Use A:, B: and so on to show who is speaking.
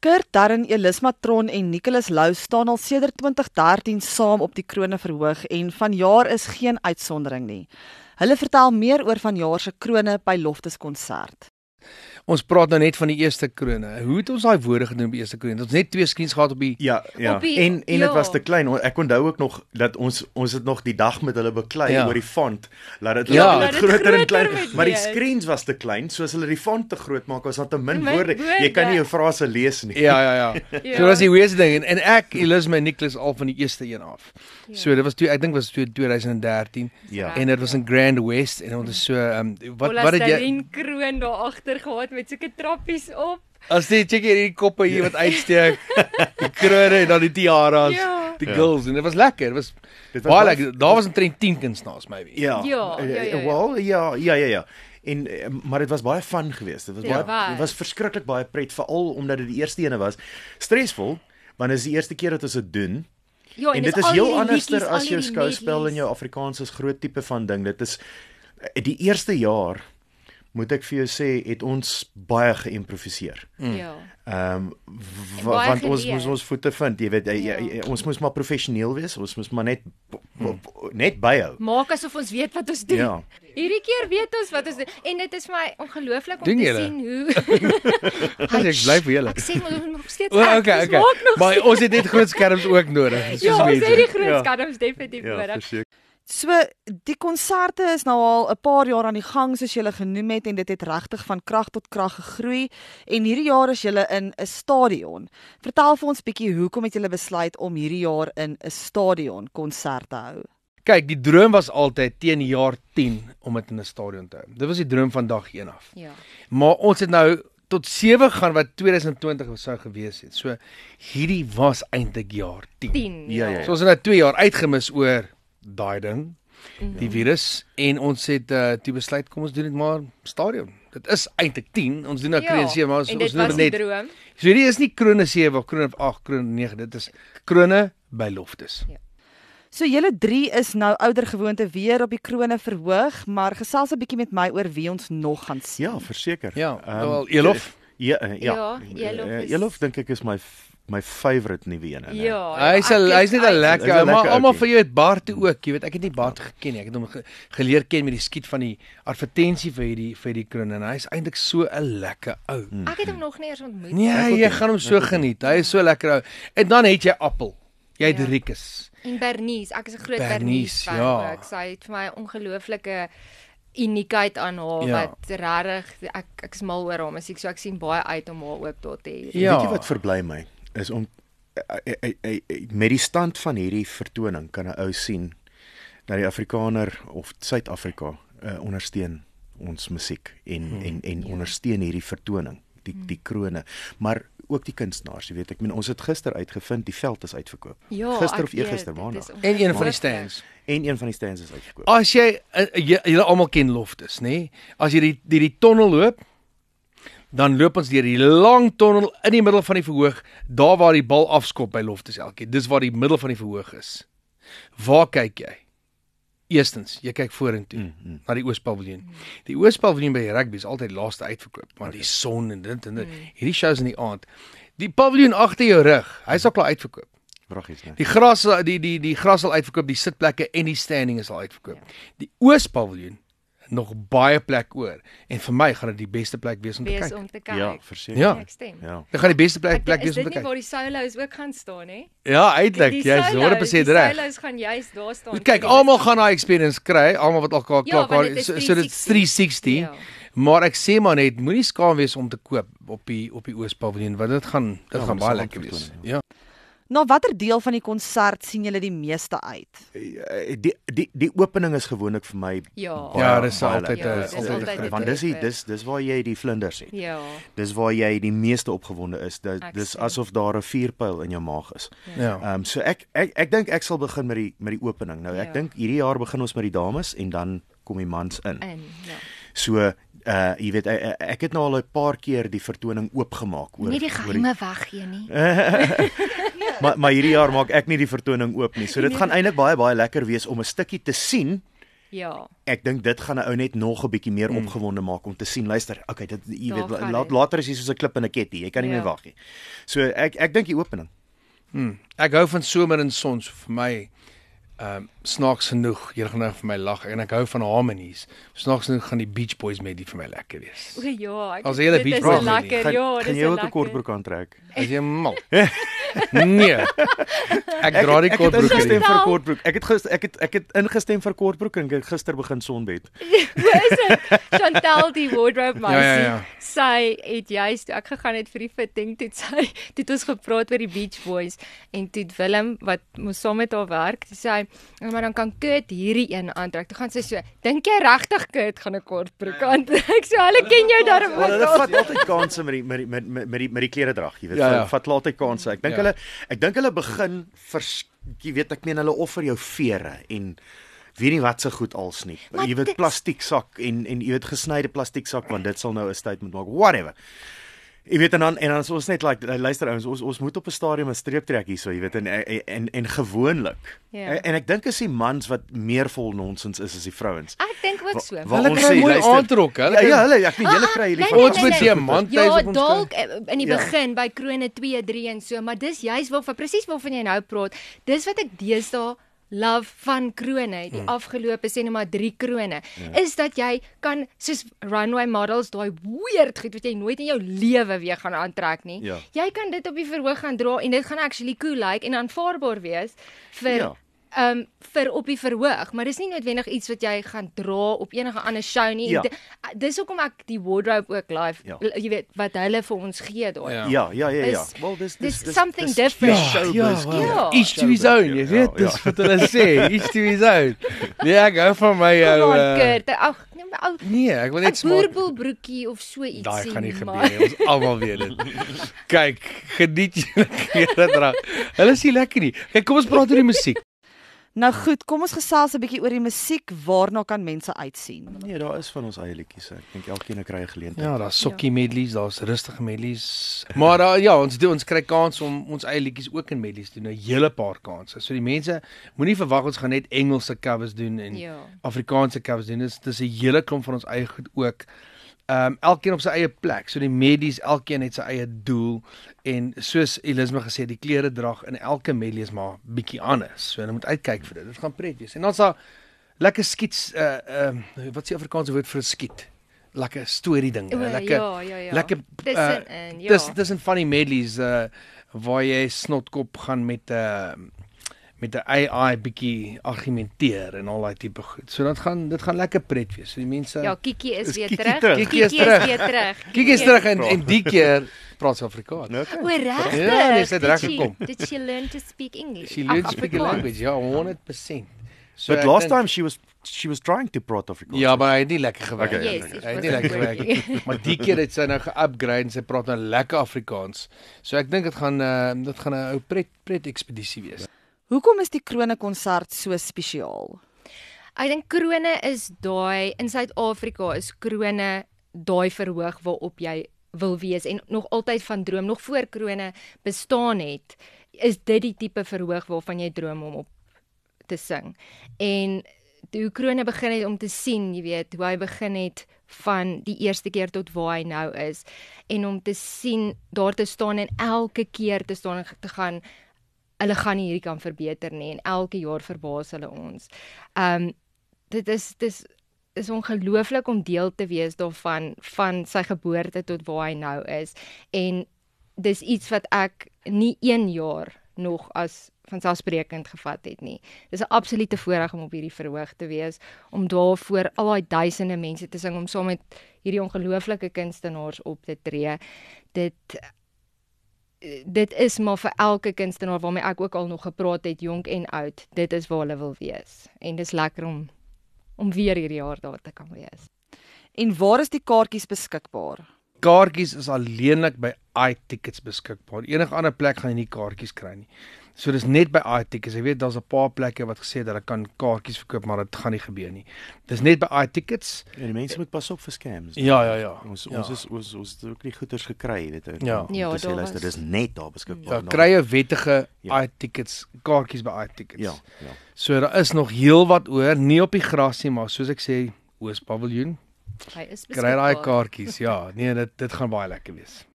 A: Kurt Darren, Elis Matron en Nicholas Lou staan al sedert 2013 saam op die kroneverhoog en vanjaar is geen uitsondering nie. Hulle vertel meer oor vanjaar se krone by Loftus konsert.
B: Ons praat nou net van die eerste krone. Hoe het ons daai woorde genoem by eerste krone? Ons het net twee skieens gehad op die
C: Ja, ja.
D: Op die-
C: en en dit
D: ja.
C: was te klein. Ek onthou ook nog dat ons ons het nog die dag met hulle beklei
B: Ja.
C: oor die font. Laat dit
B: Ja.
C: laat dit
D: Laat dit
C: groter en
D: groter
C: klein,
D: moet
C: maar die
D: wees.
C: screens was te klein, soos hulle die font te groot maak, was daar te min
D: Min
C: woorde. Jy
D: woorde.
C: kan nie jou frase lees nie.
B: Ja ja ja. ja. So was die wees ding en, en ek Elisme en Nicholas al van die eerste een af. Ja. So dit was toe ek dink was toe 2013
C: Ja.
B: en dit was in Grand West en ons is so um, wat wat het jy
D: Olastarien kroon daar agter gehad met sulke trappies op.
B: as jy check hierdie koppe hier wat uitsteek, die krone en dan die tiaras, ja.
D: Ja.
B: die
C: Ja.
B: girls ja. en dit was lekker. Dit was
C: Dit
B: dit
C: was
B: was baie
C: baie-
B: lekker. Daar was omtrent 10 kunstenaars maybe.
C: Ja.
D: Ja, ja, ja, ja.
C: Wel, ja, ja, ja, ja. En eh, maar dit was baie fun geweest. Dit was
D: Ja,
C: baie
D: waar.
C: dit was verskriklik baie pret veral omdat dit die eerste ene was. Stresvol, want dit is die eerste keer dat ons dit doen.
D: Ja,
C: en
D: dis
C: dit is
D: al
C: heel
D: hierdie
C: anderster
D: liedjies, al
C: as jou
D: hierdie
C: skouspel en
D: medleys.
C: jou Afrikaans is groot tipe van ding. Dit is eh, die eerste jaar moet ek vir jou sê het ons baie geïmproviseer.
D: Ja.
C: Ehm
D: En
C: wa,
D: baie
C: want ons
D: geleer.
C: moes ons voete vind, jy weet, jy,
D: Ja.
C: jy, ons moes maar professioneel wees. Ons moes maar net net byhou.
D: Maak asof ons weet wat ons doen.
C: Ja.
D: Hierdie keer weet ons wat ons doen en dit is vir my ongelooflik om
B: Doen
D: te
B: julle?
D: sien hoe
B: Dis ek bly vir julle.
D: ek sê maar ons is nog steeds.
B: O,
D: ek,
B: okay,
D: ons
B: okay.
D: maak nog
B: Maar ons het net groot skerms ook nodig. soos
D: Ja, ons
B: mense.
D: het die groot
C: Ja.
D: skerms definitief nodig.
C: verseker.
A: So die konserte is nou al 'n paar jaar aan die gang soos julle genoem het en dit het regtig van krag tot krag gegroei en hierdie jaar is julle in 'n stadion. Vertel vir ons bietjie hoekom het julle besluit om hierdie jaar in 'n stadion konsert te hou?
B: Kyk, die droom was altyd teen die jaar 10 om dit in 'n stadion te hou. Dit was die droom van dag 1 af.
D: Ja.
B: Maar ons het nou tot 7 gaan wat 2020 sou gewees het. So hierdie was eintlik jaar 10.
D: 10.
C: Ja, ja, ja.
B: So ons het nou 2 jaar uitgemis oor daai ding,
D: Mhm.
B: die virus en ons het uh, toe besluit kom ons doen dit maar stadion. Dit is eintlik 10. Ons doen nou
D: Ja,
B: Kroon 7, maar ons
D: en
B: ons
D: dit
B: doen
D: was
B: dit
D: die
B: net.
D: droom.
B: So hierdie is nie Kroon 7 of Kroon 8, Kroon 9, dit is Kroon by Loftus.
A: So julle drie is nou ouder gewoonte weer op die krone verhoog, maar gesels 'n bietjie met my oor wie ons nog gaan sien.
C: Ja, verseker.
B: Ja,
C: Ehm,
B: wel, Elof?
C: Ja, eh, ja.
D: Ja, Elof
C: Eh,
D: is-
C: Elof dink ek is my f- my favourite nuwe een. nee.
D: Ja.
B: Hy's
D: ek-
B: 'n hy's net 'n
C: Hy's 'n
B: lekker,
C: lekker
B: maar almal
C: ouetjie.
B: van jou het Bart toe ook, jy weet, ek het nie Bart geken nie. Ek het hom ge, geleer ken met die skiet van die advertensie vir hierdie vir die kroon en hy's eintlik so 'n lekker ou.
C: Hmm.
D: Ek het hom nog nie eens ontmoet.
B: Nee, jy gaan hom so geniet. Hy is so lekker ou. En dan het jy Appel. Jy het
D: Ja.
B: ja. Rikus.
D: En Bernice, ek is 'n groot
B: Bernice,
D: Bernice fan
B: ja.
D: ook. Sy het vir my 'n ongelooflike uniekheid aan haar
B: Ja.
D: wat regtig ek ek is mal oor haar musiek, so ek sien baie uit om haar ook daar te hê.
B: Ja.
C: Weet jy wat verbly my is om eh, eh, eh, eh, met die stand van hierdie vertoning kan 'n ou sien dat die Afrikaner of Suid-Afrika uh, ondersteun ons musiek en hmm. en en ja. ondersteun hierdie vertoning, die
D: Hmm.
C: die krone, maar ook die kunstenaars, jy weet, ek meen ons het gister uitgevind die veld is uitverkoop.
D: Ja,
C: gister
D: ek
C: of eergister
D: weet, dit
C: maandag.
D: is
B: En een van
D: ongelooflik.
B: die stands.
C: En een van die stands is uitverkoop.
B: As jy eh, jy- julle almal ken Loftus, nê? Nee? As jy die die, die tonnel loop, dan loop ons deur die lang tonnel in die middel van die verhoog, daar waar die bal afskop by Loftus elke keer. Dis waar die middel van die verhoog is. Waar kyk jy? Eerstens, jy kyk vorentoe mm, mm. na die Oospaviljoen. Die Oospaviljoen by rugby is altyd die laaste uitverkoop, want die son en dit en dit. Mm. Hierdie shows in die aand. Die paviljoen agter jou rug, hy's al klaar uitverkoop.
C: Braggies, nee.
B: Die gras die die die gras al uitverkoop, die sitplekke en die standing is al uitverkoop.
D: Ja.
B: Die Oospaviljoen nog baie plek oor en vir my gaan dit die beste plek wees om te
D: wees
B: kyk.
D: om te kyk.
C: Ja, verseker.
B: Ja.
D: Ek stem.
C: Ja.
B: Dit gaan die beste plek
D: Ek
B: plek
D: is
B: wees
D: dit
B: om te
D: nie waar
B: kyk.
D: die solos ook gaan staan hè?
B: Ja, eintlik, jy's 100% reg.
D: Die solos gaan juis daar staan.
B: Kyk, almal gaan daai experience kry, almal wat al klaar
D: Ja,
B: klaar
D: want dit
B: klaar
D: is
B: so so dit is 360.
D: Ja.
B: Maar ek sê maar net, moenie skaam wees om te koop op die op die Oospaviljoen want dit gaan dit
C: Ja,
B: gaan
C: want
B: baie
C: dit is
B: lekker
C: een
B: wees.
C: aand
B: Ja.
A: Na Nou, watter deel van die konsert sien julle die meeste uit?
C: Eh, die die die opening is gewoonlik vir my
D: Ja.
C: baie-
B: Ja, dis
C: baie
B: altyd 'n-
C: lekker.
B: Ja, dis altyd 'n altyd 'n
C: want dis die,
D: treffer.
C: dis dis waar jy die vlinders het.
D: Ja.
C: Dis waar jy die meeste opgewonde is. Dis,
D: Ek
C: dis
D: sien.
C: asof daar 'n vuurpyl in jou maag is.
B: Ja.
C: Ehm um, so ek ek ek dink ek sal begin met die met die opening. Nou ek
D: Ja.
C: dink hierdie jaar begin ons met die dames en dan kom die mans in.
D: En ja.
C: So uh jy weet ek, ek het nou al 'n paar keer die vertoning oopgemaak oor
D: Nie die
C: oor
D: geheime weggee nie. Nee.
C: maar maar hierdie jaar maak ek nie die vertoning oop nie. So dit gaan eintlik baie baie lekker wees om 'n stukkie te sien
D: Ja.
C: Ek dink dit gaan 'n ou net nog 'n bietjie meer opgewonde maak om te sien. Luister, okay, dit jy
D: Hmm. Daar
C: weet
D: gaan
C: laat
D: hy.
C: later is hier soos 'n klip in 'n ketting. Jy kan nie
D: Ja.
C: meer wag nie. So ek ek dink die opening.
B: Ek hou van somer en son so vir my ehm um, snaaks genoeg. Jy gaan nou vir my lag en ek hou van harmonies. Snaaks genoeg gaan die Beach Boys medley vir my lekker wees.
D: O ja, ek
B: As die hele
D: dit
B: Beach
D: is
B: Boys
D: so lekker.
C: gaan,
D: ja, dis
C: gaan jy ook 'n kortbroek aantrek?
B: As jy mal. nee. Ek dra die
C: Ek het
B: kortbroek
C: ingestem
B: hier.
C: vir kortbroek. Ek het gister ek het ek het ingestem vir kortbroek en ek het gister begin sonbed.
D: Chantel die wardrobe meisie.
B: Ja, ja, ja.
D: Sy het juis toe ek gegaan het vir die fitting toe het sy toe het ons gepraat oor die Beach Boys en toe het Willem wat mos saam met haar werk, toe sê hy, "Nou, "Maar dan kan Kurt hierdie een aantrek." Toe gaan sy so, "Dink jy regtig Kurt gaan 'n kort broek aantrek?" So hulle ken jou daarom
C: Maar hulle
D: ook. al."
C: vat altyd kansse met die met die met met met die, met die kleredrag, jy weet.
B: Ja,
C: Ja,
B: ja.
C: ja. Vat hulle altyd kansse. Ek dink
B: Ja.
C: ja. hulle ek dink hulle begin vers jy weet ek meen hulle offer jou vere en weet nie wat se goed als nie.
D: Maar
C: jy weet
D: dit-
C: plastiek sak en en jy weet gesnyde plastiek sak want dit sal nou 'n statement maak. Whatever. Jy weet en dan en dan is ons net like luister ouens ons ons moet op 'n stadium 'n streep trek hierso jy weet en en en, en gewoonlik.
D: Ja.
C: En, en ek dink is die mans wat meer vol nonsens is as die vrouens.
D: Ek dink ook so.
C: Wa-
B: Hulle
C: ons
B: kry
C: sê,
B: mooi
C: luister-
B: aantrokke. Hulle
C: Ja, ja,
B: kan-
C: hulle ek meen julle kry hierdie
D: nee, nee,
B: Ons moet
D: nee.
B: diamant
D: Ja,
B: is op ons.
D: dalk
B: kan-
D: eh, in die
C: Ja.
D: ja. begin by Krone 2, 3 en so, maar dis juis waarvan presies waarvan jy nou praat. Dis wat ek deesdae love van Krone, die hmm. afgelope sê nou maar 3 Krone, ja. is dat jy kan soos runway models daai weird goed wat jy nooit in jou lewe weer gaan aantrek nie.
C: Ja.
D: Jy kan dit op die verhoog gaan dra en dit gaan actually cool lyk like, en aanvaarbaar wees vir
C: Ja.
D: ja um vir op die verhoog, maar dis nie noodwendig iets wat jy gaan dra op enige ander show nie.
C: Ja.
D: Ja. Dis hoekom ek die wardrobe ook live,
C: Ja.
D: ja. jy weet wat hulle vir ons gee daai.
B: Ja.
D: Ja.
C: Ja, ja, ja, ja.
D: Is-
C: Wel dis
D: dis something different.
C: dis
B: Ja,
C: showbiz,
B: ja,
C: ja.
D: wel.
B: Each to his own, jy weet, dis wat hulle sê, each to his own. Nee, ek hou van my
D: Kom
B: ou.
D: aan,
B: eh,
D: Kurt. Ag, nee, maar ou
B: Nee, ek wil net
D: 'n
B: smaak.
D: boerboelbroekie of so iets
B: Daai gaan nie gebeur
D: maar-
B: nie. Ons almal weet dit. Kyk, geniet julle klere dra. Hulle is nie lekker nie. Kyk, kom ons praat oor die musiek.
A: Nou goed, kom ons gesels 'n bietjie oor die musiek waarna kan mense uitsien.
C: Nee, daar is van ons eie liedjies. Ek dink elkeen kry 'n geleentheid.
B: Ja, daar's sokkie medleys, daar's rustige medleys. Maar daar ja, ons doen ons kry kans om ons eie liedjies ook in medleys te doen, 'n hele paar kansse. So die mense moenie verwag ons gaan net Engelse covers doen en
D: Ja.
B: Afrikaanse covers doen. Dis dis 'n hele klomp van ons eie goed ook. Ehm um, elkeen op sy eie plek. So die medies, elkeen het sy eie doel en soos Elisme gesê, die klere drag in elke medley is maar bietjie anders. So jy moet uitkyk vir dit. Dit gaan pret wees. En dan's daar lekker skiets uh ehm uh, wat is die Afrikaanse woord vir 'n skiet? Lekker storie ding,
D: O,
B: lekker
D: ja, ja, ja.
B: lekker eh,
D: Tussenin, ja.
B: Dis dis 'n funny medleys uh waar jy snotkop gaan met 'n uh, met 'n AI bietjie argumenteer en al daai tipe goed. So dit gaan dit gaan lekker pret wees. So die mense
D: Ja, Kiki is
C: Is
D: weer
C: Kiki
D: terug.
C: terug?
B: Kiki is terug.
D: weer terug.
B: kyk eens terug en en
C: Ja.
B: die keer praat sy Afrikaans.
C: Nou, okay.
D: O, regtig?
B: Ja, nee, sy het
D: Did
B: reg
D: she-
B: gekom.
D: Did she learn to speak English?
B: She learns
D: Ag,
B: speak a
D: Afrikaans.
B: language. Ja, 100%. So
C: But
B: ek
C: last
B: dink-
C: time she was she was trying to praat Afrikaans.
B: Ja, maar hy het nie lekker gewerk
C: Okay,
B: nie.
D: Yes, it
B: hy het
D: was
B: nie lekker
D: a
B: gewerk
D: good
B: nie. Maar die keer het sy nou ge-upgrade en sy praat nou lekker Afrikaans. So ek dink dit gaan uh, dit gaan 'n ou pret pret ekspedisie wees.
A: Hoekom is die Krone konsert so spesiaal?
D: Ek dink krone is daai in Suid-Afrika is krone daai verhoog waarop jy wil wees en nog altyd van droom nog voor krone bestaan het is dit die tipe verhoog waarvan jy droom om op te sing. En hoe Krone begin het om te sien, jy weet, hoe hy begin het van die eerste keer tot waar hy nou is en om te sien daar te staan en elke keer te staan en te gaan hulle gaan nie hierdie kan verbeter nie en elke jaar verbaas hulle ons. Um dit is dis is ongelooflik om deel te wees daarvan van sy geboorte tot waar hy nou is en dis iets wat ek nie een jaar nog as vanselfsprekend gevat het nie. Dis 'n absolute voorreg om op hierdie verhoog te wees, om daarvoor al daai duisende mense te sing om saam met hierdie ongelooflike kunstenaars op te tree. Dit dit is maar vir elke kunstenaar waarmee ek ook al nog gepraat het, jonk en oud, dit is waar hulle wil wees. En dis lekker om om weer hierdie jaar daar te kan wees.
A: En waar is die kaartjies beskikbaar?
B: Kaartjies is alleenlik by iTickets beskikbaar. Enige ander plek gaan jy nie kaartjies kry nie. So dis net by iTickets. Jy weet daar's 'n paar plekke wat gesê het dat ek kan kaartjies verkoop, maar dit gaan nie gebeur nie. Dis net by iTickets.
C: En die mense moet pas op vir scams.
B: Ja, ja, ja.
C: Ons
B: ja.
C: ons is ons ons het ook nie goeders gekry, weet jy.
B: Ja.
C: Om
D: Ja,
C: te sê
D: daar
C: luister,
D: was-
C: dis net daar beskikbaar.
B: Ja,
C: Nou,
B: kry 'n wettige
C: Ja.
B: iTickets kaartjies by iTickets.
C: Ja, ja.
B: So daar is nog heelwat oor, nie op die gras nie, maar soos ek sê, Oos Paviljoen,
D: Hy is
B: kry daai
D: beskikbaar.
B: kaartjies. Ja, nee, dit dit gaan baie lekker wees.